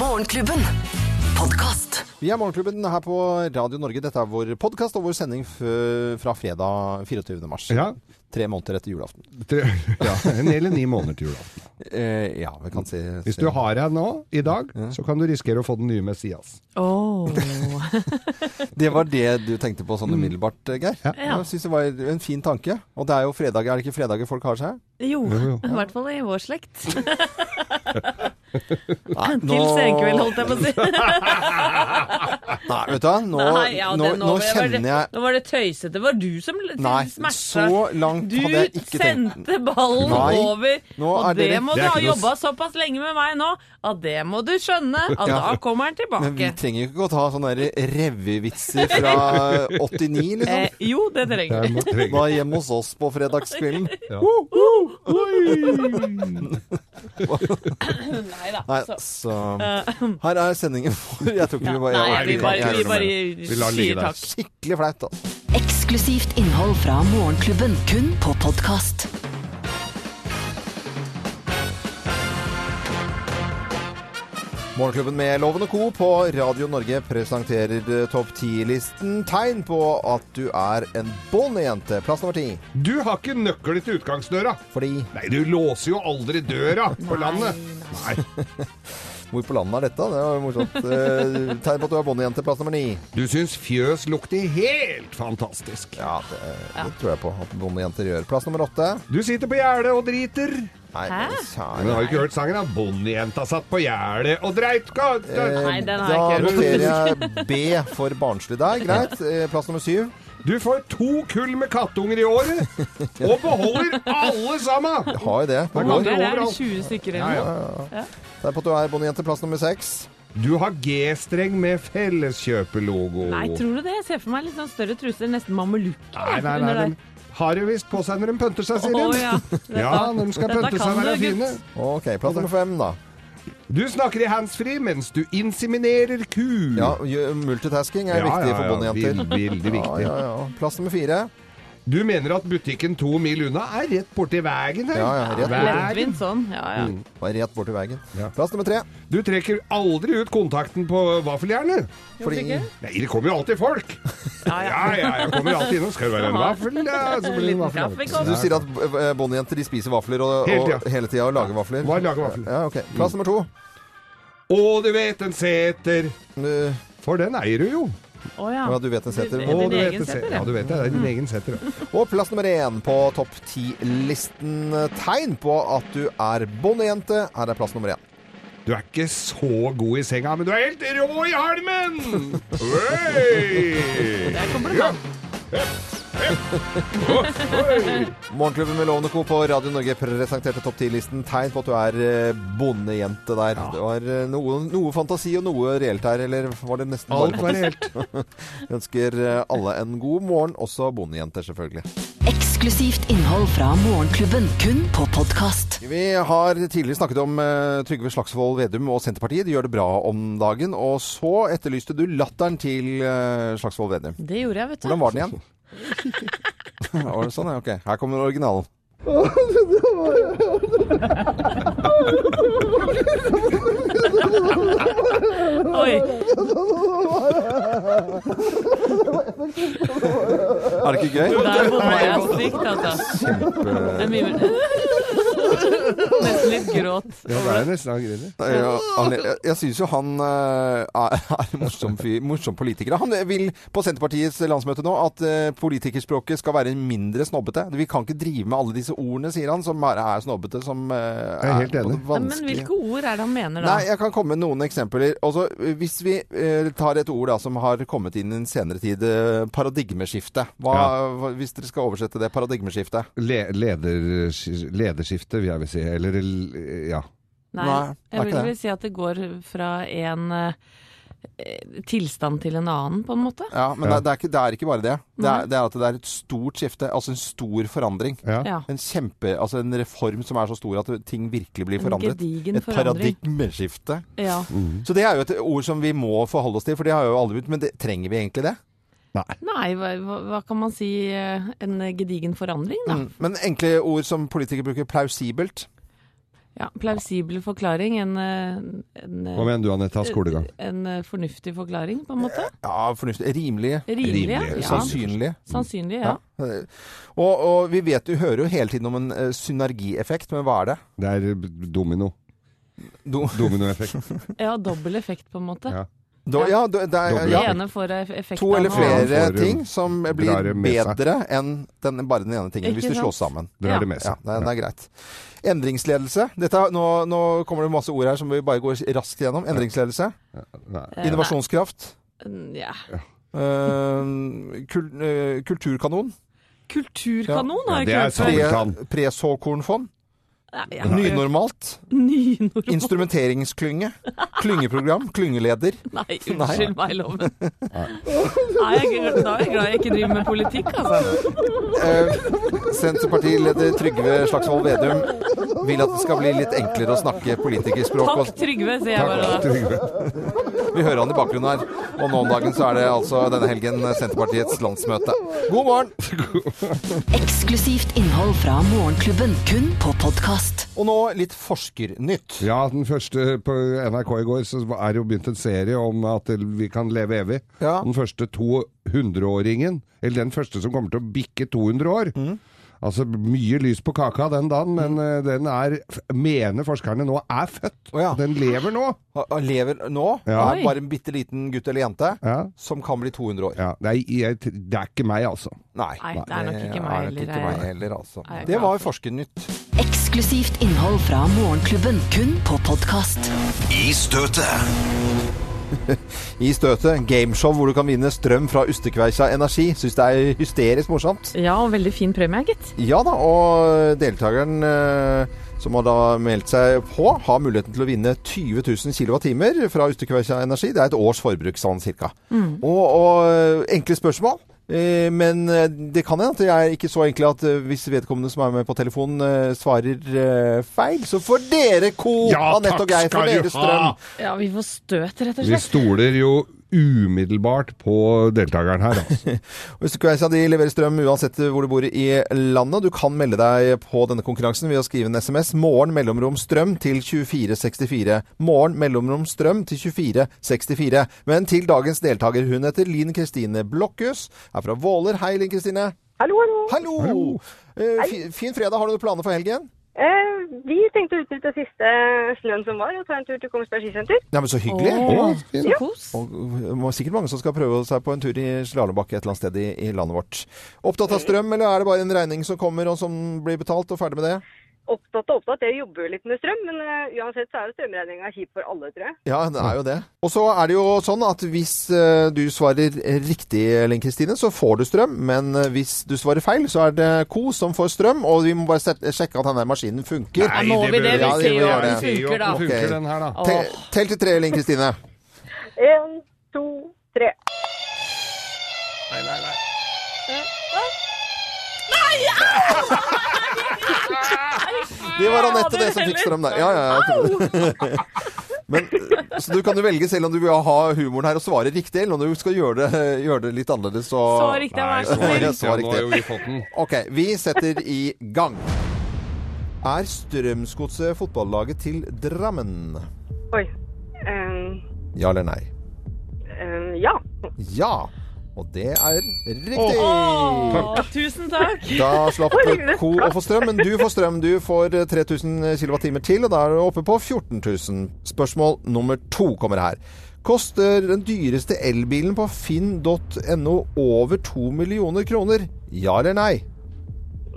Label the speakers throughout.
Speaker 1: Morgenklubben. Podkast.
Speaker 2: Vi er Morgenklubben her på Radio Norge. Dette er vår podkast og vår sending f fra fredag 24. mars.
Speaker 3: Ja.
Speaker 2: Tre måneder etter julaften.
Speaker 3: Tre, En eller ni måneder til julaften.
Speaker 2: Eh, ja, vi kan si
Speaker 3: Hvis du har deg nå, i dag, så kan du risikere å få den nye Messias.
Speaker 4: Åh.
Speaker 2: Det var det du tenkte på sånn umiddelbart, Geir?
Speaker 3: Mm. Ja.
Speaker 2: Jeg syns det var en fin tanke. Og det er jo fredager, er det ikke fredager folk har seg?
Speaker 4: Jo,
Speaker 3: jo.
Speaker 4: i hvert fall i vår slekt.
Speaker 2: Nei,
Speaker 4: Til senkveld, holdt jeg på å si.
Speaker 2: Nei, vet du hva. Nå,
Speaker 4: Nei, ja,
Speaker 2: nå,
Speaker 4: det-
Speaker 2: nå
Speaker 4: var det-
Speaker 2: kjenner jeg
Speaker 4: Nå var det tøysete. Det var du som l-
Speaker 2: Nei,
Speaker 4: smasha.
Speaker 2: så langt
Speaker 4: Du
Speaker 2: hadde jeg ikke tenkt.
Speaker 4: sendte ballen
Speaker 2: Nei,
Speaker 4: over.
Speaker 2: nå er
Speaker 4: Og det
Speaker 2: dere-
Speaker 4: må
Speaker 3: Det
Speaker 4: du
Speaker 3: er
Speaker 4: ha
Speaker 3: ikke noe
Speaker 4: jobba såpass lenge med meg nå, at det må du skjønne. At
Speaker 2: Ja.
Speaker 4: da kommer han
Speaker 2: Men vi
Speaker 4: tilbake.
Speaker 2: trenger jo ikke å ta sånne der revevitser fra 89,
Speaker 4: Eh,
Speaker 2: liksom.
Speaker 4: jo, det trenger
Speaker 3: Der
Speaker 4: vi.
Speaker 3: må- trenger-
Speaker 2: Var hjemme hos oss på fredagskvelden.
Speaker 3: Ja.
Speaker 4: Nei da.
Speaker 2: Nei,
Speaker 4: så- Eh,
Speaker 2: så Her er sendingen vår. Jeg tror ikke vi bare
Speaker 4: Nei, vi
Speaker 3: vi kan ikke
Speaker 4: bare, vi
Speaker 3: gjøre noe
Speaker 4: bare
Speaker 3: Vi lar ligge
Speaker 4: sier
Speaker 3: der.
Speaker 4: takk.
Speaker 2: Skikkelig flaut, altså.
Speaker 1: Eksklusivt innhold fra Morgenklubben, kun på podkast.
Speaker 2: Morgenklubben med Loven og Co. på Radio Norge presenterer eh, topp 10-listen tegn på at du er en bondejente. Plass nummer ti.
Speaker 3: Du har ikke nøkkel til utgangsdøra.
Speaker 2: Fordi
Speaker 3: Nei, du låser jo aldri døra på landet. Nei.
Speaker 2: Hvor på landet er dette? Det var jo morsomt. Eh, tegn på at du er bondejente. Plass nummer ni.
Speaker 3: Du syns fjøs lukter helt fantastisk.
Speaker 2: Ja, det, det tror jeg på at bondejenter gjør. Plass nummer åtte.
Speaker 3: Du sitter på gjerdet og driter.
Speaker 2: Nei,
Speaker 4: Hæ?
Speaker 2: men
Speaker 3: Men
Speaker 2: kjære
Speaker 3: har du ikke hørt sangen da? 'Bondejenta satt på gjerdet og dreit'? Ga-
Speaker 2: Eh,
Speaker 3: da-
Speaker 4: Nei, den har
Speaker 2: Da
Speaker 4: jeg ikke hørt.
Speaker 2: noterer jeg B for barnslig der. Greit. Eh, Plass nummer syv.
Speaker 3: Du får to kull med kattunger i året, og beholder alle sammen!
Speaker 2: Har jo det. på
Speaker 3: Hva
Speaker 2: vår.
Speaker 3: kan
Speaker 4: Det er
Speaker 3: overalt.
Speaker 4: 20 stykker
Speaker 3: Ja,
Speaker 4: eller noe.
Speaker 3: ja.
Speaker 2: Tegn på at du er bondejente. Plass nummer seks.
Speaker 3: Du har G-streng med felleskjøpelogo.
Speaker 4: Nei, tror du det? Jeg ser for meg litt sånn større truser, nesten mamelukker.
Speaker 3: Nei, nei, nei,
Speaker 4: under der.
Speaker 3: de har det visst på seg når de pønter seg, sier de.
Speaker 4: Å, ja.
Speaker 3: ja, de skal
Speaker 4: Dette
Speaker 3: pønte
Speaker 4: kan
Speaker 3: seg og være
Speaker 4: du,
Speaker 3: fine.
Speaker 4: gutt.
Speaker 2: Ok, plass nummer fem, da.
Speaker 3: Du snakker i handsfree mens du inseminerer ku.
Speaker 2: Ja, gjø- multitasking er viktig for bondejenter.
Speaker 3: Veld,
Speaker 2: Ja,
Speaker 3: veldig viktig.
Speaker 2: ja, ja. Plass nummer fire.
Speaker 3: Du mener at butikken to mil unna er rett borti veien her.
Speaker 2: Ja, ja, rett
Speaker 3: Vær-
Speaker 4: Lettvint sånn. Ja, ja.
Speaker 3: Mm.
Speaker 2: Bare rett borti veien.
Speaker 3: Ja.
Speaker 2: Plass nummer tre.
Speaker 3: Du trekker aldri ut kontakten på vaffeljernet.
Speaker 2: Fordi
Speaker 3: Nei, det kommer jo alltid folk.
Speaker 4: Ja, ja.
Speaker 3: Ja, ja, jeg kommer alltid innom. Skal det være en vaffel? Ja, så blir det en
Speaker 4: Liten
Speaker 3: vaffel.
Speaker 4: kaffekopp.
Speaker 2: du sier at eh, bondejenter de spiser vafler og,
Speaker 3: Hele
Speaker 2: og
Speaker 3: tida.
Speaker 2: hele tida og lager vafler.
Speaker 3: Hva lager vafler? Mm.
Speaker 2: Ja, ok. Plass nummer to.
Speaker 3: Å, du vet en seter.
Speaker 2: Du-
Speaker 3: For den eier du jo.
Speaker 4: Å, ja.
Speaker 2: Ja, du vet en seter.
Speaker 4: Din-
Speaker 3: Å,
Speaker 4: din
Speaker 3: du vet
Speaker 4: egen
Speaker 3: en seter.
Speaker 4: seter,
Speaker 3: Ja,
Speaker 4: ja.
Speaker 3: du vet det. Det er din egen seter. ja.
Speaker 2: Og plass nummer én på topp ti-listen. Tegn på at du er bondejente. Her er plass nummer én.
Speaker 3: Du er ikke så god i senga, men du er helt rå i halmen! Oi!
Speaker 4: Det er kompliment.
Speaker 2: Morgenklubben med Lovende Co. på Radio Norge presenterte topp 10-listen tegn på at du er eh, bondejente der. Det var eh, noe, noe fantasi og noe reelt her, eller var det nesten
Speaker 3: Alt
Speaker 2: bare
Speaker 3: var helt
Speaker 2: Vi ønsker eh, alle en god morgen, også bondejenter selvfølgelig.
Speaker 1: Eksklusivt innhold fra Morgenklubben, kun på podkast.
Speaker 2: Vi har tidligere snakket om eh, Trygve Slagsvold Vedum og Senterpartiet. De gjør det bra om dagen. Og så etterlyste du latteren til eh, Slagsvold Vedum.
Speaker 4: Det gjorde jeg, vet du.
Speaker 2: Hvordan var den igjen? Var det sånn, ja? Ok. Her kommer originalen.
Speaker 4: Oi.
Speaker 2: Er det ikke gøy? Eh,
Speaker 4: Der bomma jeg stygt, altså. Det er mye Nesten litt gråt.
Speaker 3: Ja, det er nesten han griner.
Speaker 2: Nei, ja, han- Jeg, jeg syns jo han eh, er, er en morsom, fyr, morsom politiker. Han vil på Senterpartiets landsmøte nå at eh, politikerspråket skal være mindre snobbete. Vi kan ikke drive med alle disse ordene, sier han, som bare er snobbete, som eh,
Speaker 3: er
Speaker 2: på
Speaker 3: helt enig.
Speaker 2: det
Speaker 4: Ja, Men
Speaker 2: vanskelige.
Speaker 4: hvilke ord er det han mener da?
Speaker 2: Nei, jeg kan komme med noen eksempler. Altså, hvis vi eh, tar et ord da, som har kommet inn i en senere tid, eh, paradigmeskifte. Hva, hva- Hvis dere skal oversette det, paradigmeskifte.
Speaker 3: Le leder, lederskifte, vil jeg vil si. Eller l- ja.
Speaker 4: Nei,
Speaker 2: Nei, det er
Speaker 4: jeg vil
Speaker 2: ikke det.
Speaker 4: vel si at det går fra en eh, tilstand til en annen, på en måte.
Speaker 2: Ja, men
Speaker 3: Ja.
Speaker 2: Det, det, er ikke, det er ikke bare det. Det er, det er at det er et stort skifte, altså en stor forandring.
Speaker 3: ja.
Speaker 4: Ja.
Speaker 2: En kjempe, altså en reform som er så stor at ting virkelig blir
Speaker 4: En
Speaker 2: forandret.
Speaker 4: gedigen
Speaker 2: Et
Speaker 4: forandring.
Speaker 2: paradigmeskifte.
Speaker 4: Ja.
Speaker 3: Mm.
Speaker 2: Så det er jo et ord som vi må forholde oss til, for det har jo alle blitt. Men det, trenger vi egentlig det?
Speaker 4: Nei, hva, hva hva kan man si?
Speaker 2: Mm.
Speaker 4: eh, En gedigen forandring, da.
Speaker 2: Men enkle ord som politikere bruker, plausibelt.
Speaker 4: Ja, plausibel forklaring. En, eh, en, eh,
Speaker 3: Hva mener du, Anette, av skolegang?
Speaker 4: en eh, fornuftig forklaring, på en måte.
Speaker 2: Ja, fornuftig. Rimelige. eh,
Speaker 4: Rimelig, ja.
Speaker 3: Rimelig,
Speaker 4: ja.
Speaker 3: sannsynlig.
Speaker 2: Sannsynlige.
Speaker 4: Sannsynlig, ja.
Speaker 2: Eh, Og, og vi vet, du hører jo hele tiden om en eh, synergieffekt, men hva er det?
Speaker 3: Det er eh, domino.
Speaker 2: Do,
Speaker 3: Dominoeffekt.
Speaker 4: Ja, dobbel effekt, på en måte.
Speaker 3: Ja.
Speaker 2: do, ja, do, det er,
Speaker 3: Dobbel
Speaker 2: ja,
Speaker 4: Det ene får eff- effekt
Speaker 2: to
Speaker 4: av
Speaker 2: eller
Speaker 4: den andre.
Speaker 2: flere
Speaker 3: Får, eh,
Speaker 2: ting som
Speaker 3: drar
Speaker 2: blir
Speaker 3: det med seg.
Speaker 2: bedre enn den, bare den ene tingen,
Speaker 4: Ikke
Speaker 2: hvis de
Speaker 4: sant?
Speaker 2: slås sammen.
Speaker 3: Drar
Speaker 4: Ja.
Speaker 3: det med
Speaker 2: Ja,
Speaker 3: seg.
Speaker 2: det, det er greit. Endringsledelse. Dette, er- nå, nå kommer det masse ord her som vi bare går raskt gjennom. Endringsledelse.
Speaker 3: Nei.
Speaker 4: Eh,
Speaker 2: Innovasjonskraft.
Speaker 4: nei, Ja.
Speaker 2: eh, kul, eh, kulturkanon.
Speaker 4: Kulturkanon
Speaker 3: Ja,
Speaker 4: har jeg
Speaker 3: det
Speaker 4: ikke
Speaker 3: er
Speaker 4: hørt
Speaker 3: sant.
Speaker 4: før.
Speaker 2: Pre-
Speaker 3: Kulturkan.
Speaker 2: Presåkornfond.
Speaker 4: Nei, jeg har ikke hørt-
Speaker 2: Nynormalt.
Speaker 4: Nynormal.
Speaker 2: Instrumenteringsklynge. Klyngeprogram. Klyngeleder.
Speaker 4: Nei, unnskyld meg, loven. Nei, jeg, er glad- da er jeg glad jeg ikke driver med politikk, altså.
Speaker 2: Eh, Senterpartileder Trygve Slagsvold Vedum vil at det skal bli litt enklere å snakke politikerspråk.
Speaker 4: Takk,
Speaker 2: Og
Speaker 4: Trygve, sier jeg bare da.
Speaker 3: Trygve.
Speaker 2: vi hører han i bakgrunnen her. Og nå om dagen så er det altså denne helgen Senterpartiets landsmøte. God morgen!
Speaker 1: Eksklusivt innhold fra Morgenklubben, kun på podkast.
Speaker 2: Og nå litt forskernytt.
Speaker 3: Ja, den første på NRK i går så er det jo begynt en serie om at vi kan leve evig.
Speaker 2: Ja.
Speaker 3: Den første 200-åringen, eller den første som kommer til å bikke 200 år.
Speaker 2: Mm.
Speaker 3: Altså mye lys på kaka den dagen, men eh, den er, f- mener forskerne nå, er født.
Speaker 2: Å ja.
Speaker 3: Den lever nå.
Speaker 2: Han- Han lever nå.
Speaker 3: Ja.
Speaker 2: Er bare en bitte liten gutt eller jente
Speaker 3: Ja.
Speaker 2: som kan bli 200 år.
Speaker 3: Ja, det, er, jeg, det er ikke meg, altså.
Speaker 2: Nei.
Speaker 4: Nei, det er nok ikke meg
Speaker 2: er nok
Speaker 4: heller,
Speaker 2: ikke
Speaker 4: jeg-
Speaker 2: meg heller, altså.
Speaker 4: jeg er
Speaker 2: Det
Speaker 4: glad
Speaker 2: var forskernytt.
Speaker 1: Eksklusivt innhold fra Morgenklubben, kun på podkast.
Speaker 5: I støtet.
Speaker 2: I støtet, gameshow hvor du kan vinne strøm fra ustekveisa energi. Syns det er hysterisk morsomt.
Speaker 4: Ja, og veldig fin premie, gitt.
Speaker 2: Ja da, og deltakeren eh, som har da meldt seg på, har muligheten til å vinne 20 000 kWh fra Ustekveikja Energi. Det er et års forbruk, sånn cirka. Og, og eh, enkle spørsmål. Eh, Men eh, det kan hende at det er ikke så enkle at eh, hvis vedkommende som er med på telefonen eh, svarer eh, feil, så får dere ko,
Speaker 3: Ja,
Speaker 2: Anette
Speaker 3: takk
Speaker 2: og Geir,
Speaker 3: skal
Speaker 2: for
Speaker 3: du
Speaker 2: deres strøm.
Speaker 3: ha!
Speaker 4: Ja, vi får støt, rett og
Speaker 3: Vi
Speaker 4: slett.
Speaker 3: stoler jo umiddelbart på deltakeren her, altså.
Speaker 2: Østekveisa de leverer strøm uansett hvor du bor i landet. Du kan melde deg på denne konkurransen ved å skrive en SMS 'morgen mellomrom strøm' til 2464. 'Morgen mellomrom strøm' til 2464. Men til dagens deltaker. Hun heter Linn Kristine Blokhus. Er fra Våler. Hei, Linn Kristine.
Speaker 6: Hallo, hallo.
Speaker 2: Hallo!
Speaker 3: Hallo.
Speaker 2: Eh, fi- fin fredag. Har du noen planer for helgen?
Speaker 6: Eh, vi tenkte å utnytte siste eh, snøen som var, og ta en tur til Kongsberg skisenter.
Speaker 2: Nei, men så hyggelig.
Speaker 4: Åh,
Speaker 3: Å, fint.
Speaker 4: så kos.
Speaker 2: Og det må sikkert mange som skal prøve seg på en tur i slalåmbakke et eller annet sted i, i landet vårt. Opptatt av strøm, eller er det bare en regning som kommer og som blir betalt, og ferdig med det?
Speaker 6: Opptatt og opptatt, jeg jobber jo litt med strøm, men eh, uansett så er jo strømregninga kjip for alle, tror jeg.
Speaker 2: Ja, det er jo det. Og så er det jo sånn at hvis eh, du svarer riktig, Linn Kristine, så får du strøm. Men eh, hvis du svarer feil, så er det Co som får strøm. Og vi må bare sette, sjekke at denne maskinen funker.
Speaker 4: Ja, må vi
Speaker 2: Ja,
Speaker 4: det? Vi
Speaker 2: det må
Speaker 4: sier jo
Speaker 2: gjøre
Speaker 4: at den
Speaker 2: det.
Speaker 4: funker, da.
Speaker 3: Den
Speaker 2: Ok.
Speaker 3: funker, den her, da.
Speaker 2: Te- Tell til tre, Linn Kristine.
Speaker 6: En, to, tre.
Speaker 3: Nei, nei, nei.
Speaker 2: Det var Anette det som fikk strøm der. Ja, ja, ja. Men, eh, så du kan jo velge selv om du vil ha humoren her og svare riktig, eller om du skal gjøre det, gjøre det litt annerledes. Og...
Speaker 4: Så riktig, vær så
Speaker 2: Nei,
Speaker 4: snill.
Speaker 2: det svar
Speaker 3: Nå
Speaker 2: riktig.
Speaker 3: har jo vi fått den.
Speaker 2: Ok, vi setter i gang. Er Strømsgodset fotballaget til Drammen?
Speaker 6: Oi. Eh,
Speaker 2: Ja eller nei?
Speaker 6: eh, ja.
Speaker 2: Ja. Og det er riktig.
Speaker 4: Åh, tusen takk.
Speaker 2: Da slapp
Speaker 6: Oi.
Speaker 2: Co å få strøm, men du får strøm. Du får 3000 kWh til, og da er du oppe på 14 000. Spørsmål nummer to kommer her. Koster den dyreste elbilen på finn.no over to millioner kroner? Ja eller nei?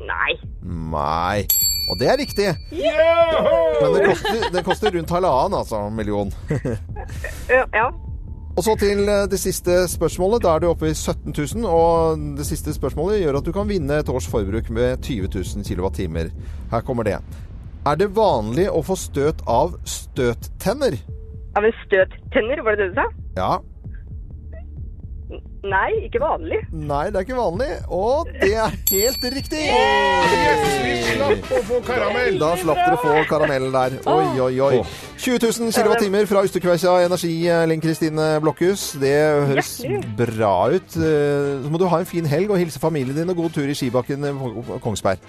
Speaker 6: Nei.
Speaker 2: Nei. Og det er riktig. Men den koster, den koster rundt halvannen, altså, million.
Speaker 6: Eh, ja.
Speaker 2: Og så til eh, det siste spørsmålet. Da er du oppe i 17 000, og det siste spørsmålet gjør at du kan vinne et års forbruk med 20 000 kWh. Her kommer det. Er det vanlig å få støt av støttenner?
Speaker 6: Av en støttenner, var det det du sa?
Speaker 2: Ja.
Speaker 6: Nei, ikke vanlig.
Speaker 2: Nei, det er ikke vanlig. Og det er helt riktig!
Speaker 3: Slapp å få karamell!
Speaker 2: Da slapp dere å få karamellen der. Oi, oi, oi. 20 000 kWh fra Ustekveikja Energi, Linn Kristine Blokhus. Det høres
Speaker 6: Hjertelig.
Speaker 2: bra ut. Eh, Så må du ha en fin helg og hilse familien din og god tur i skibakken på Kongsberg.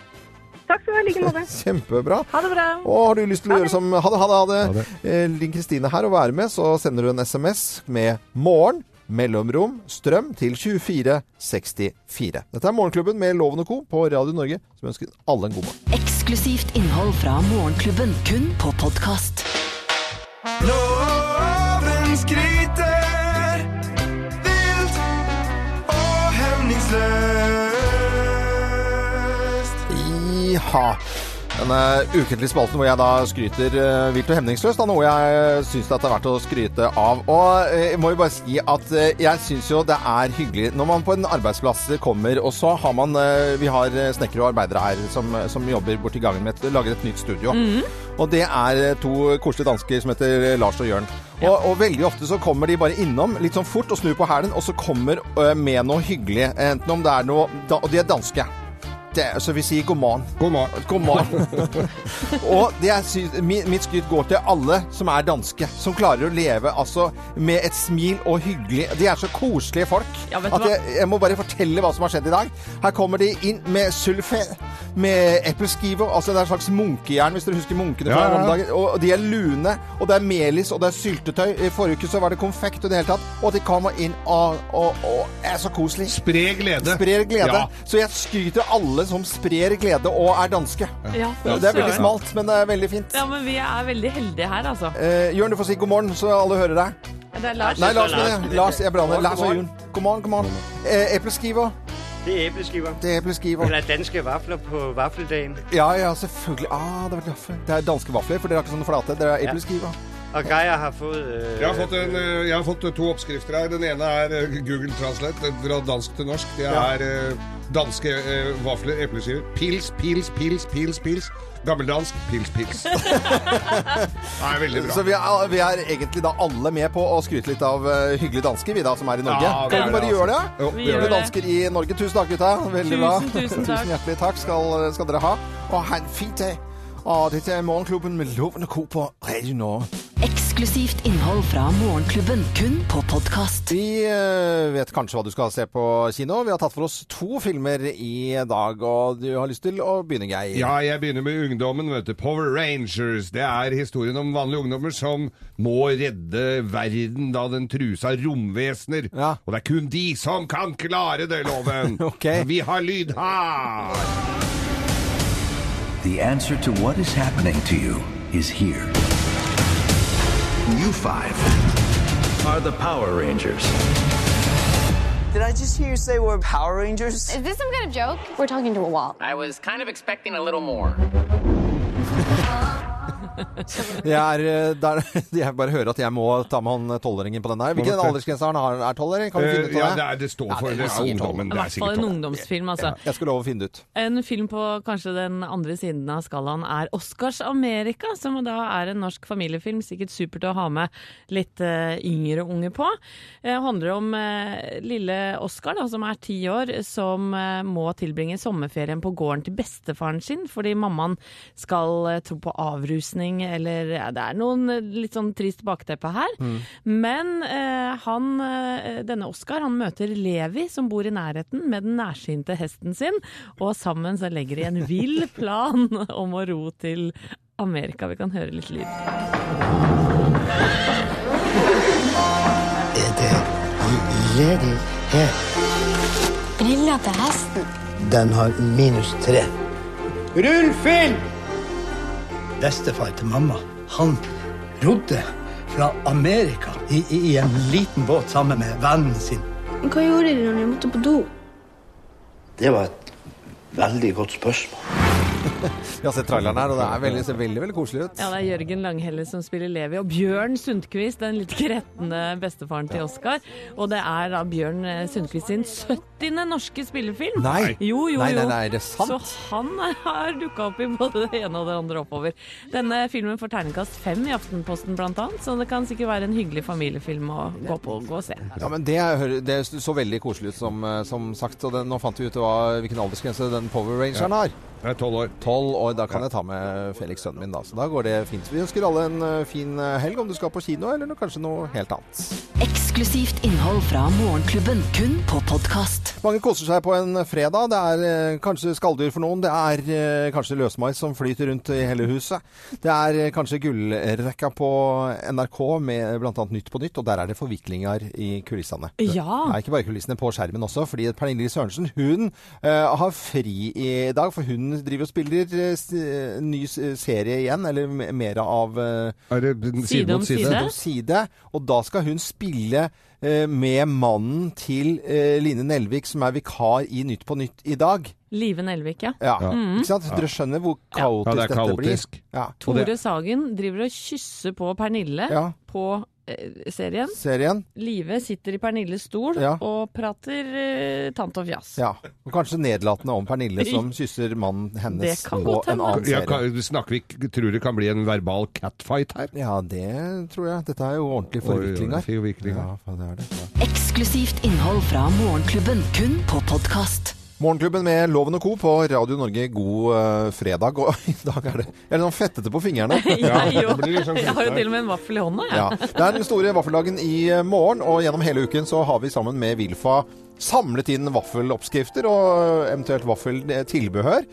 Speaker 6: Takk skal du ha, i like måte.
Speaker 2: Kjempebra.
Speaker 4: Ha det bra.
Speaker 2: Og har du lyst til å gjøre som Ha det, ha det, ha det.
Speaker 3: det.
Speaker 2: Eh, Linn Kristine her og være med, så sender du en SMS med 'morgen', mellomrom, strøm til 2464. Dette er Morgenklubben med Loven og Co. på Radio Norge, som ønsker alle en god morgen.
Speaker 1: Eksklusivt innhold fra Morgenklubben, kun på podkast.
Speaker 5: Loven skryter vilt og hemningsløst.
Speaker 2: Jaha. Denne ukentlige spalten hvor jeg da skryter eh, vilt og hemningsløst av noe jeg syns det er verdt å skryte av. Og eh, jeg må jo bare si at eh, jeg syns jo det er hyggelig når man på en arbeidsplass kommer, og så har man eh, Vi har eh, snekkere og arbeidere her som, som jobber borti gangen med et, lager et nytt studio. Og det er eh, to koselige dansker som heter eh, Lars og Jørn. Og, og veldig ofte så kommer de bare innom litt sånn fort og snur på hælen, og så kommer eh, med noe hyggelig. Enten om det er noe da, Og de er danske. Det, eh, så vi sier god morgen.
Speaker 3: God morgen.
Speaker 2: God morgen. og det jeg syns, mi- mitt skryt går til alle som er danske, som klarer å leve altså, med et smil og hyggelig De er så koselige folk
Speaker 4: Ja, vet du
Speaker 2: at jeg, jeg må bare fortelle hva som har skjedd i dag. Her kommer de inn med sulfé, med epleskivo, altså det er en slags munkejern, hvis dere husker munkene fra
Speaker 3: Ja, ja, ja.
Speaker 2: gamle dager. Og de er lune, og det er melis, og det er syltetøy. I forrige uke så var det konfekt og det hele tatt. Og de kommer inn og, og, og er så koselige.
Speaker 3: Spre glede.
Speaker 2: Sprer glede.
Speaker 3: Ja.
Speaker 2: Så jeg skryter alle som sprer glede og er danske.
Speaker 4: Ja,
Speaker 2: Det er veldig
Speaker 4: søren.
Speaker 2: smalt, men det er veldig fint.
Speaker 4: Ja, men vi er veldig heldige her, altså.
Speaker 2: Eh, Jørn, du får si god morgen, så alle hører deg.
Speaker 4: Det er Lars.
Speaker 2: Nei, Lars, mener jeg. Lars, jeg blander. Lars og Jørn. God morgen, god morgen. Eh, Epleskiver.
Speaker 7: Det er æbleskiver.
Speaker 2: Det er epleskiver.
Speaker 7: Eller danske vafler på vaffeldagen.
Speaker 2: Ja, ja, selvfølgelig. Ah, det, var gaffe. det er danske vafler, for dere har ikke sånne flate. Dere har epleskiver.
Speaker 7: Og Geir har fået... øh,
Speaker 3: Jeg har, fått en, eh, jeg har fått to oppskrifter her. Den ene er eh, Google Translate eh, fra dansk til norsk. Det er eh, danske eh, vafler, epleskiver. Pils, pils, pils, pils, pils. Gammeldansk pils, pils. Det er veldig bra.
Speaker 2: Så vi er, vi er egentlig da alle med på å skryte litt av eh, hyggelige dansker, vi da som er i Norge.
Speaker 3: Ja, vi
Speaker 2: Kan
Speaker 3: er
Speaker 2: vi bare
Speaker 3: det,
Speaker 2: gjøre det?
Speaker 3: altså. Jo,
Speaker 4: Vi
Speaker 3: vi gjør
Speaker 4: gjør
Speaker 2: Hyggelige
Speaker 3: det.
Speaker 2: dansker i Norge. Tusen takk, gutta. Veldig bra.
Speaker 4: Tusen, tusen takk.
Speaker 2: hjertelig takk skal, skal dere ha. Og ha en fin dag. Og dette er Morgenklubben med Lovende Co på Radio Norge.
Speaker 1: Eksklusivt innhold fra Morgenklubben, kun på podkast.
Speaker 2: Vi eh, vet kanskje hva du skal se på kino. Vi har tatt for oss to filmer i dag, og du har lyst til å begynne, Geir.
Speaker 3: Ja, jeg begynner med ungdommen, vet du. Power Rangers. Det er historien om vanlige ungdommer som må redde verden da den trues av romvesener.
Speaker 2: Ja.
Speaker 3: Og det er kun de som kan klare det, loven!
Speaker 2: Ok.
Speaker 3: Vi har lyd her!
Speaker 5: The answer to what is happening to you is here. You five are the Power Rangers.
Speaker 8: Did I just hear you say we're Power Rangers?
Speaker 9: Is this some kind of joke? We're talking to a wall.
Speaker 10: I was kind of expecting a little more.
Speaker 2: Jeg er, eh, der, jeg bare hører at jeg må ta med han tolvåringen på den der. Hvilken
Speaker 3: Hvorfor?
Speaker 2: aldersgrense har han? Er tolvåring? Kan vi
Speaker 3: Eh,
Speaker 2: finne ut
Speaker 3: ja,
Speaker 2: av
Speaker 3: det,
Speaker 2: det?
Speaker 3: er, det står for
Speaker 2: Ja, det
Speaker 3: det,
Speaker 2: sier
Speaker 3: er ungdommen.
Speaker 4: I
Speaker 3: Det er
Speaker 4: hvert fall
Speaker 3: sikkert
Speaker 4: en
Speaker 3: tolv.
Speaker 4: ungdomsfilm, altså.
Speaker 2: Jeg skal love å finne det ut.
Speaker 4: En film på kanskje den andre siden av skalaen er Oscars Amerika, som da er en norsk familiefilm. Sikkert supert å ha med litt eh, yngre unge på. Det handler om eh, lille Oscar, da, som er ti år, som eh, må tilbringe sommerferien på gården til bestefaren sin fordi mammaen skal eh, tro på avrusning eller ja, Det er noen eh, litt sånn trist bakteppe her. Men eh, han, eh, denne Oscar, han møter Levi som bor i nærheten med den nærsynte hesten sin, og sammen så legger de en vill plan om å ro til Amerika. Vi kan høre litt lyd.
Speaker 9: Brilla til hesten.
Speaker 8: Den har minus tre. Rull film! Bestefar til mamma, han rodde fra Amerika i, i, i en liten båt sammen med vennen sin.
Speaker 9: Hva gjorde de når de måtte på do?
Speaker 8: Det var et veldig godt spørsmål.
Speaker 2: Vi har sett traileren her, og det er veldig, ser veldig, veldig koselig ut.
Speaker 4: Ja, det er Jørgen Langhelle som spiller Levi, og Bjørn Sundquist, den litt gretne bestefaren til Oscar. Og det er da Bjørn eh, Sundquist sin 70. norske spillefilm.
Speaker 2: Nei.
Speaker 4: Jo, jo,
Speaker 2: Nei, nei,
Speaker 4: jo.
Speaker 2: nei, er det sant?
Speaker 4: Så han har dukka opp i både det ene og det andre oppover. Denne filmen får terningkast fem i Aftenposten blant annet, så det kan sikkert være en hyggelig familiefilm å gå på og gå og se.
Speaker 2: Ja, men det, hører- det så veldig koselig ut, som, eh, som sagt. Og det, nå fant vi ut hva, hvilken aldersgrense den Power Rangeren har.
Speaker 3: Det er tolv år.
Speaker 2: Tolv år. Da kan jeg ta med Felix, sønnen min, da. Så da går det fint. Vi ønsker alle en eh, fin eh, helg, om du skal på kino eller noe, kanskje noe helt annet.
Speaker 1: Eksklusivt innhold fra Morgenklubben, kun på podkast.
Speaker 2: Mange koser seg på en fredag. Det er eh, kanskje skalldyr for noen. Det er eh, kanskje løsmais som flyter rundt i hele huset. Det er eh, kanskje gullrekka på NRK med bl.a. Nytt på Nytt, og der er det forviklinger i kulissene.
Speaker 4: Ja.
Speaker 2: Det er ikke bare kulissene på skjermen også, fordi Pernille Sørensen hun eh, har fri i dag. For hun driver og spiller eh, s- eh, ny s- serie igjen, eller m- mer av eh,
Speaker 3: Er det side mot side?
Speaker 2: Side om side. Og da skal hun spille eh, med mannen til eh, Line Nelvik, som er vikar i Nytt på Nytt i dag.
Speaker 4: Live Nelvik, ja.
Speaker 2: Ja,
Speaker 4: Mhm.
Speaker 2: ikke sant? Dere skjønner hvor
Speaker 4: Ja.
Speaker 2: kaotisk,
Speaker 3: Ja, det er kaotisk.
Speaker 2: dette blir. Ja.
Speaker 4: Tore Sagen driver og kysser på Pernille
Speaker 2: Ja.
Speaker 4: på eh, serien.
Speaker 2: Serien.
Speaker 4: Live sitter i Pernilles stol
Speaker 2: Ja.
Speaker 4: og prater eh, tant og fjas.
Speaker 2: Ja. Og kanskje nedlatende om Pernille som kysser mannen hennes
Speaker 4: Det kan
Speaker 2: på
Speaker 4: godt
Speaker 2: en
Speaker 4: hende.
Speaker 2: annen
Speaker 3: Jeg
Speaker 2: serie.
Speaker 3: kan, snakker vi ikke- tror det kan bli en verbal catfight her?
Speaker 2: Ja, det tror jeg. Dette er jo ordentlige forviklinger.
Speaker 3: Forviklinger.
Speaker 2: Ja, det er det.
Speaker 1: Eksklusivt innhold fra Morgenklubben, kun på podkast.
Speaker 2: Morgenklubben med Loven og Co. på Radio Norge, god eh, fredag. Og i dag er det Jeg er litt sånn fettete på fingrene.
Speaker 4: Jeg, jo, jeg har jo til og med en vaffel i hånda, jeg.
Speaker 2: sånn Ja. Det er den store vaffeldagen i eh, morgen, og gjennom hele uken så har vi sammen med Vilfa samlet inn vaffeloppskrifter og eventuelt vaffeltilbehør.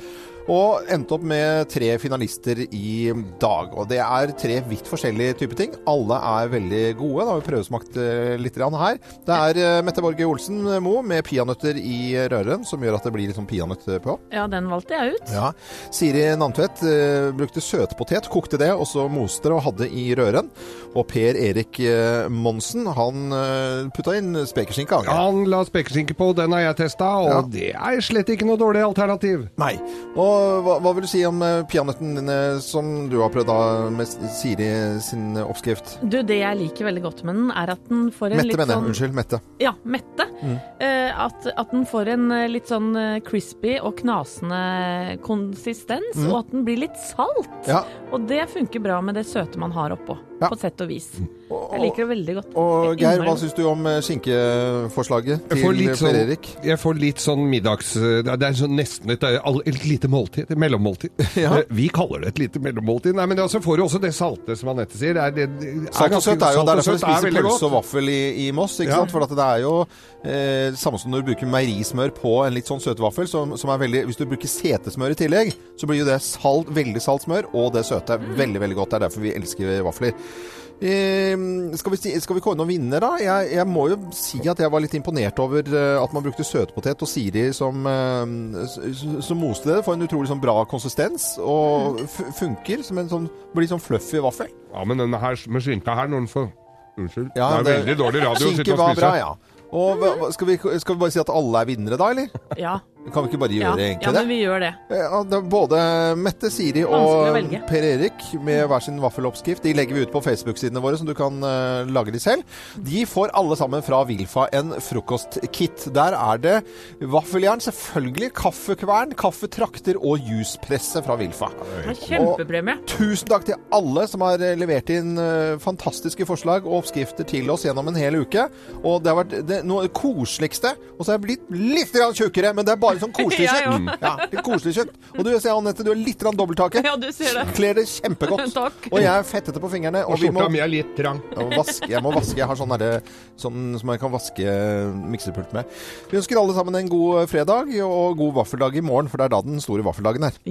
Speaker 2: Og endte opp med tre finalister i dag. Og det er tre vidt forskjellige typer ting. Alle er veldig gode. Da har vi prøvesmakt eh, litt grann her. Det er eh, Mette Borge Olsen Mo med peanøtter i røren, som gjør at det blir litt sånn peanøtt på.
Speaker 4: Ja, den valgte jeg ut.
Speaker 2: Ja. Siri Namtvedt eh, brukte søtpotet, kokte det, og så moste det og hadde i røren. Og Per Erik eh, Monsen, han eh, putta inn spekeskinke. han.
Speaker 3: Han la spekeskinke på, den har jeg testa, og det er slett ikke noe dårlig alternativ.
Speaker 2: Nei. Og hva, hva vil du si om eh, peanøtten din eh, som du har prøvd da med S- Siri sin oppskrift?
Speaker 4: Du, det jeg liker veldig godt med den, er at den får en
Speaker 2: Mette,
Speaker 4: litt
Speaker 2: mener jeg.
Speaker 4: sånn
Speaker 2: Unnskyld. Mette.
Speaker 4: Ja, Mette.
Speaker 2: Mm.
Speaker 4: Eh, at, at den får en eh, litt sånn eh, crispy og knasende konsistens,
Speaker 2: Mm.
Speaker 4: og at den blir litt salt.
Speaker 2: Ja.
Speaker 4: Og det funker bra med det søte man har oppå, på sett og vis. Jeg liker det veldig godt.
Speaker 2: Mm. Og
Speaker 4: Jeg
Speaker 2: Geir, hva
Speaker 4: innrømmer-
Speaker 2: syns du om eh, skinkeforslaget
Speaker 3: Jeg
Speaker 2: til
Speaker 3: får
Speaker 2: eh,
Speaker 3: litt
Speaker 2: Per
Speaker 3: sånn,
Speaker 2: Erik?
Speaker 3: jeg får litt sånn middags... Det er sånn nesten et, all- et lite måltid, et mellommåltid. Eh, Vi kaller det et lite mellommåltid. Nei, men altså får du også det salte som Anette sier. Det er, det, det er
Speaker 2: Salt og
Speaker 3: ganske-
Speaker 2: søtt er jo det er
Speaker 3: salt og
Speaker 2: derfor
Speaker 3: søtt
Speaker 2: du spiser
Speaker 3: er veldig
Speaker 2: pølse
Speaker 3: godt.
Speaker 2: og vaffel i, i Moss. ikke
Speaker 3: Ja.
Speaker 2: sant? For at det er jo eh, samme som når du bruker meierismør på en litt sånn søt vaffel. Som, som er veldig, hvis du bruker setesmør i tillegg, så blir jo det salt, veldig salt smør, og det søte er veldig, veldig godt. Det er derfor vi elsker vafler. Eh, skal, vi, si- skal vi kåre noen vinner, da? Jeg, jeg må jo si at jeg var litt imponert over eh, at man brukte søtpotet og Siri som, eh, s- s- som moste det. Får en utrolig sånn bra konsistens, og f funker som en sånn, blir sånn fluffy vaffel.
Speaker 3: Ja, men denne her med skinka her, når den får... Unnskyld.
Speaker 2: Ja,
Speaker 3: det er veldig dårlig radio å sitte
Speaker 2: Skinke
Speaker 3: og
Speaker 2: var
Speaker 3: spise.
Speaker 2: bra, ja. Og hva, hva- skal, vi, skal vi bare si at alle er vinnere da, eller?
Speaker 4: Ja,
Speaker 2: Kan vi ikke bare
Speaker 4: ja,
Speaker 2: gjøre egentlig
Speaker 4: ja, men
Speaker 2: det?
Speaker 4: vi gjør det.
Speaker 2: Ja, det er både Mette, Siri
Speaker 4: Vanskelig å
Speaker 2: og
Speaker 4: velge.
Speaker 2: Per Erik med hver sin vaffeloppskrift. De legger vi ut på Facebook-sidene våre, som du kan eh, lage de selv. De får alle sammen fra Vilfa en frokostkit. Der er det vaffeljern, selvfølgelig, kaffekvern, kaffetrakter og juspresse fra Vilfa.
Speaker 4: Det er Kjempepremie.
Speaker 2: Tusen takk til alle som har eh, levert inn eh, fantastiske forslag og oppskrifter til oss gjennom en hel uke. Og det har vært det, noe av det koseligste. Og så har jeg blitt litt grann tjukkere, men det er bare sånn koselig
Speaker 4: Ja, jo.
Speaker 2: kjøtt. Ja, litt koselig kjøtt. Og du ser, Anette, du har litt grann dobbelttaket.
Speaker 4: Ja, du ser det.
Speaker 2: Kler det kjempegodt.
Speaker 4: Takk.
Speaker 2: Og jeg er fettete på fingrene.
Speaker 3: Og
Speaker 2: vi må-
Speaker 3: skjorta mi er litt trang.
Speaker 2: jeg må vaske. Jeg, må vaske. jeg har sånn, derre- sånn som jeg kan vaske eh, miksepult med. Vi ønsker alle sammen en god eh, fredag og god vaffeldag i morgen, for det er da den store vaffeldagen er.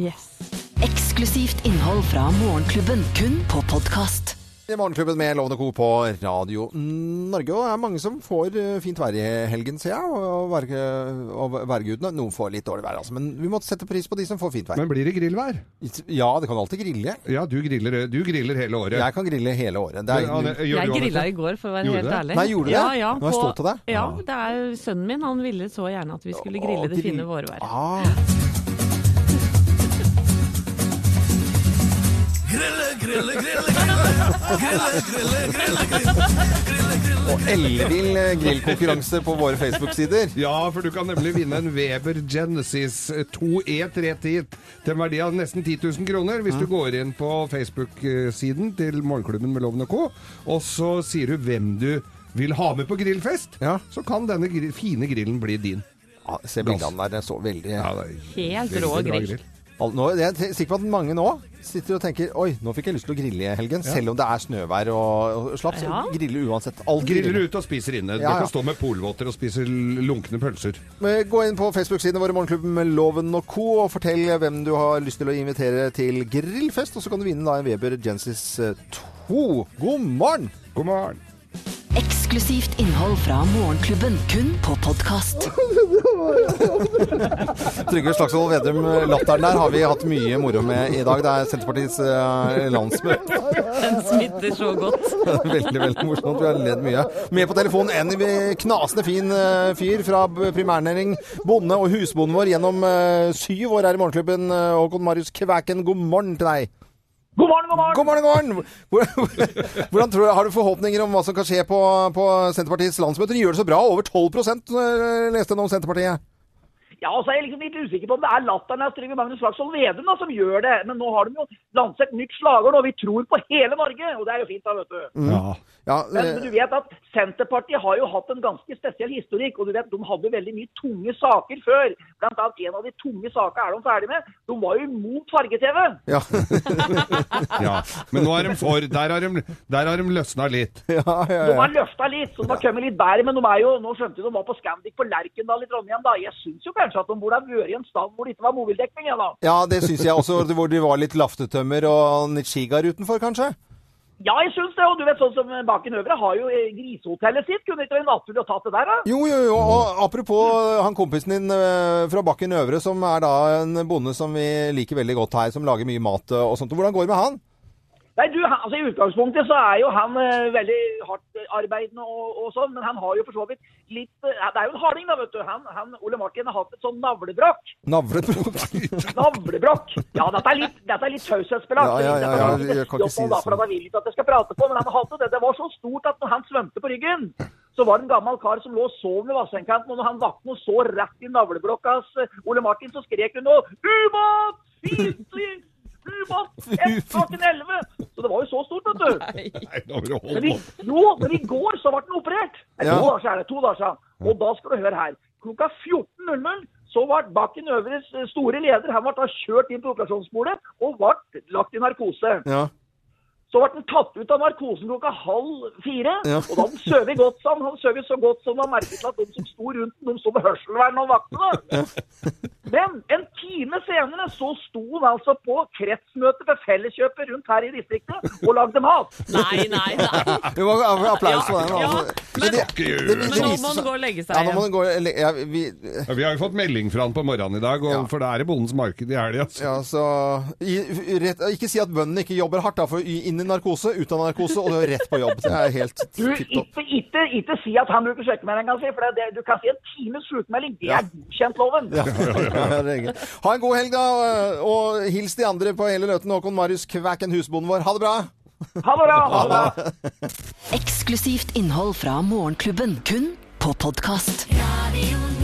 Speaker 1: Eksklusivt innhold fra Morgenklubben, kun på podkast.
Speaker 2: I Morgenklubben med Lovende Co. på Radio Norge. Og det er mange som får eh, fint vær i helgen, ser jeg. Og, verge, og værgudene. Noen får litt dårlig vær, altså. Men vi må sette pris på de som får fint vær.
Speaker 3: Men blir det grillvær?
Speaker 2: Ja, det kan alltid grille.
Speaker 3: Ja, du griller, du griller hele året.
Speaker 2: Jeg kan grille hele året. Det er,
Speaker 3: Ja, det- gjør
Speaker 4: Jeg
Speaker 3: du, Anette?
Speaker 4: grilla i går, for å være
Speaker 3: Gjorde
Speaker 4: helt
Speaker 3: det?
Speaker 4: ærlig.
Speaker 2: Nei, gjorde du det?
Speaker 4: Ja,
Speaker 2: Nå
Speaker 4: ja,
Speaker 2: er jeg
Speaker 4: på-
Speaker 2: stolt av deg. Ah.
Speaker 4: Ja, det er sønnen min. Han ville så gjerne at vi skulle
Speaker 2: Å,
Speaker 4: grille det fine
Speaker 2: grill-
Speaker 4: vårværet.
Speaker 2: Ah.
Speaker 5: Grille, grille, grille, grille. Grille, grille, grille,
Speaker 2: Og ellevill eh, grillkonkurranse på våre Facebook-sider.
Speaker 3: Ja, for du kan nemlig vinne en Weber Genesis 2E310 til en verdi av nesten 10 000 kroner hvis du går inn på Facebook-siden til Morgenklubben med Loven og Co. Og så sier du hvem du vil ha med på grillfest,
Speaker 2: Ja.
Speaker 3: så kan denne grill, fine grillen bli din.
Speaker 2: Ja, se bildene der. Jeg så veldig
Speaker 3: Ja, det er
Speaker 4: Helt
Speaker 3: veldig
Speaker 4: rå
Speaker 3: bra
Speaker 4: grill.
Speaker 2: Al- Nå, jeg er sikker på at mange nå sitter og tenker Oi, nå fikk jeg lyst til å grille i helgen. Selv om det er snøvær og, og slapp, så
Speaker 3: Ja.
Speaker 2: griller uansett. Alt
Speaker 3: Griller ute og spiser inne.
Speaker 2: Ja,
Speaker 3: Du
Speaker 2: ja.
Speaker 3: kan stå med polvotter og spise lunkne pølser.
Speaker 2: Eh, Gå inn på Facebook-sidene våre Morgenklubben med Loven og Co. og fortell hvem du har lyst til å invitere til grillfest. Og så kan du vinne da en Weber Genesis eh, 2. God morgen!
Speaker 3: God morgen.
Speaker 1: Eksklusivt innhold fra Morgenklubben, kun på podkast.
Speaker 2: Trygve Slagsvold Vedum, latteren der har vi hatt mye moro med i dag. Det er Senterpartiets eh, landsmøte.
Speaker 4: Den smitter så godt.
Speaker 2: Veldig veldig morsomt. Vi har ledd mye. Med på telefonen en knasende fin eh, fyr fra b- primærnæring, bonde og husbonden vår gjennom eh, syv år her i Morgenklubben. eh, Håkon Marius Kvæken, god morgen til deg.
Speaker 11: God morgen, god morgen!
Speaker 2: God morgen, god morgen! Hvor- Hvordan tror du, Har du forhåpninger om hva som kan skje på, på Senterpartiets landsmøte? De gjør det så bra. Over 12 eh, leste jeg nå om Senterpartiet.
Speaker 11: Ja, og så er jeg liksom litt usikker på om det er latteren av Trygve Magnus Slagsvold Vedum da, som gjør det. Men nå har de jo lansert nytt slagord, og vi tror på hele Norge. Og det er jo fint, da, vet du.
Speaker 2: Ja.
Speaker 11: Men
Speaker 2: eh,
Speaker 11: du vet at Senterpartiet har jo hatt en ganske spesiell historikk. Og du vet, de hadde veldig mye tunge saker før. Blant annet en av de tunge sakene er de ferdig med. De var jo imot farge-TV.
Speaker 2: Ja.
Speaker 3: ja. Men nå er de for. Der har de, der har de løsna litt.
Speaker 11: De har løfta litt, så de har kommet litt bedre. Men de er jo, nå skjønte jeg de var på Scandic på Lerkendal i Trondheim, da. Jeg syns jo kanskje at de burde ha vært i en stand hvor det ikke var mobildekning, ja da.
Speaker 2: Ja, det syns jeg også. det- Hvor de var litt laftetømmer og Nitshigar utenfor, kanskje?
Speaker 11: Ja, jeg syns det. Og du vet, sånn som Baken Øvre har jo eh, grisehotellet sitt. Kunne det ikke vært naturlig å ta det der, da?
Speaker 2: Jo, jo, jo. Og apropos han kompisen din eh, fra Bakken Øvre, som er da en bonde som vi liker veldig godt her, som lager mye mat eh, og sånt. Hvordan går det med han?
Speaker 11: Nei, du, han- altså I utgangspunktet så er jo han eh, veldig hardt eh, arbeidende og, og sånn, men han har jo for så vidt litt eh, Det er jo en harding, da, vet du. Han, han, Ole Martin har hatt et sånn navlebrakk.
Speaker 2: Navlebrok?
Speaker 11: Navlebrakk! Ja, dette er litt, dette er litt taushetsbelagt.
Speaker 2: Ja, ja, ja,
Speaker 11: Dette
Speaker 2: ja,
Speaker 11: er
Speaker 2: jeg kan ikke
Speaker 11: jobb,
Speaker 2: si
Speaker 11: og
Speaker 2: det
Speaker 11: derfor
Speaker 2: sånn.
Speaker 11: han vil ikke at jeg skal prate på, men han hadde det. Det var så stort at når han svømte på ryggen, så var det en gammel kar som lå og sov ved vassengkanten, og når han vakna og så rett i navleblokka hans eh, Ole Martin, så skrek hun nå Ubåt! Fiendtlig! Ubåt! Ett klokken elleve! Så det var jo så stort, vet du. Men i, jo, men i går så ble den operert. Nei,
Speaker 3: Ja.
Speaker 11: To dager siden er det. To dager siden. Og da skal du høre her. Klokka 14.00 så ble Bakken Øvres eh, store leder han ble da kjørt inn på operasjonsbordet og ble lagt i narkose.
Speaker 2: Ja.
Speaker 11: Så ble han tatt ut av narkosen klokka halv fire.
Speaker 2: Ja.
Speaker 11: Og da hadde han sovet godt som han sovet så godt som han merket til at de som sto rundt den, de sto med hørselvern og vaktene. Men en time senere så sto han altså på kretsmøte ved Felleskjøpet rundt her i distriktet og lagde mat.
Speaker 4: Nei, nei, nei.
Speaker 2: Vi må ha applaus for den.
Speaker 4: Ja,
Speaker 2: Altså.
Speaker 4: men-
Speaker 3: det-
Speaker 4: Men
Speaker 3: det
Speaker 4: nå
Speaker 3: viser
Speaker 4: må
Speaker 3: seg-
Speaker 4: den gå og legge seg
Speaker 2: Ja, nå må
Speaker 4: igjen.
Speaker 2: den gå ja, vi,
Speaker 3: Ja, vi har jo fått melding fra han på morgenen i dag, og, for det er i Bondens marked i helga. Altså.
Speaker 2: Ja, så i, rett, Ikke si at bøndene ikke jobber hardt, da, for i- inn i narkose, ut av narkose og rett på jobb. Det er helt
Speaker 11: Du,
Speaker 2: tipp topp.
Speaker 11: ikke, ikke, ikke si at han bruker sykemeldinga si, for det, det, du kan si en times sykemelding. Det er godkjent loven.
Speaker 2: Ja, ja, det er greit. Ha en god helg, da. Og hils de andre på hele Løten. Håkon Marius Kvæken, husbonden vår. Ha det bra!
Speaker 11: Ha det bra!
Speaker 1: ha det bra. Eksklusivt innhold fra Morgenklubben, kun på podkast.
Speaker 12: Radio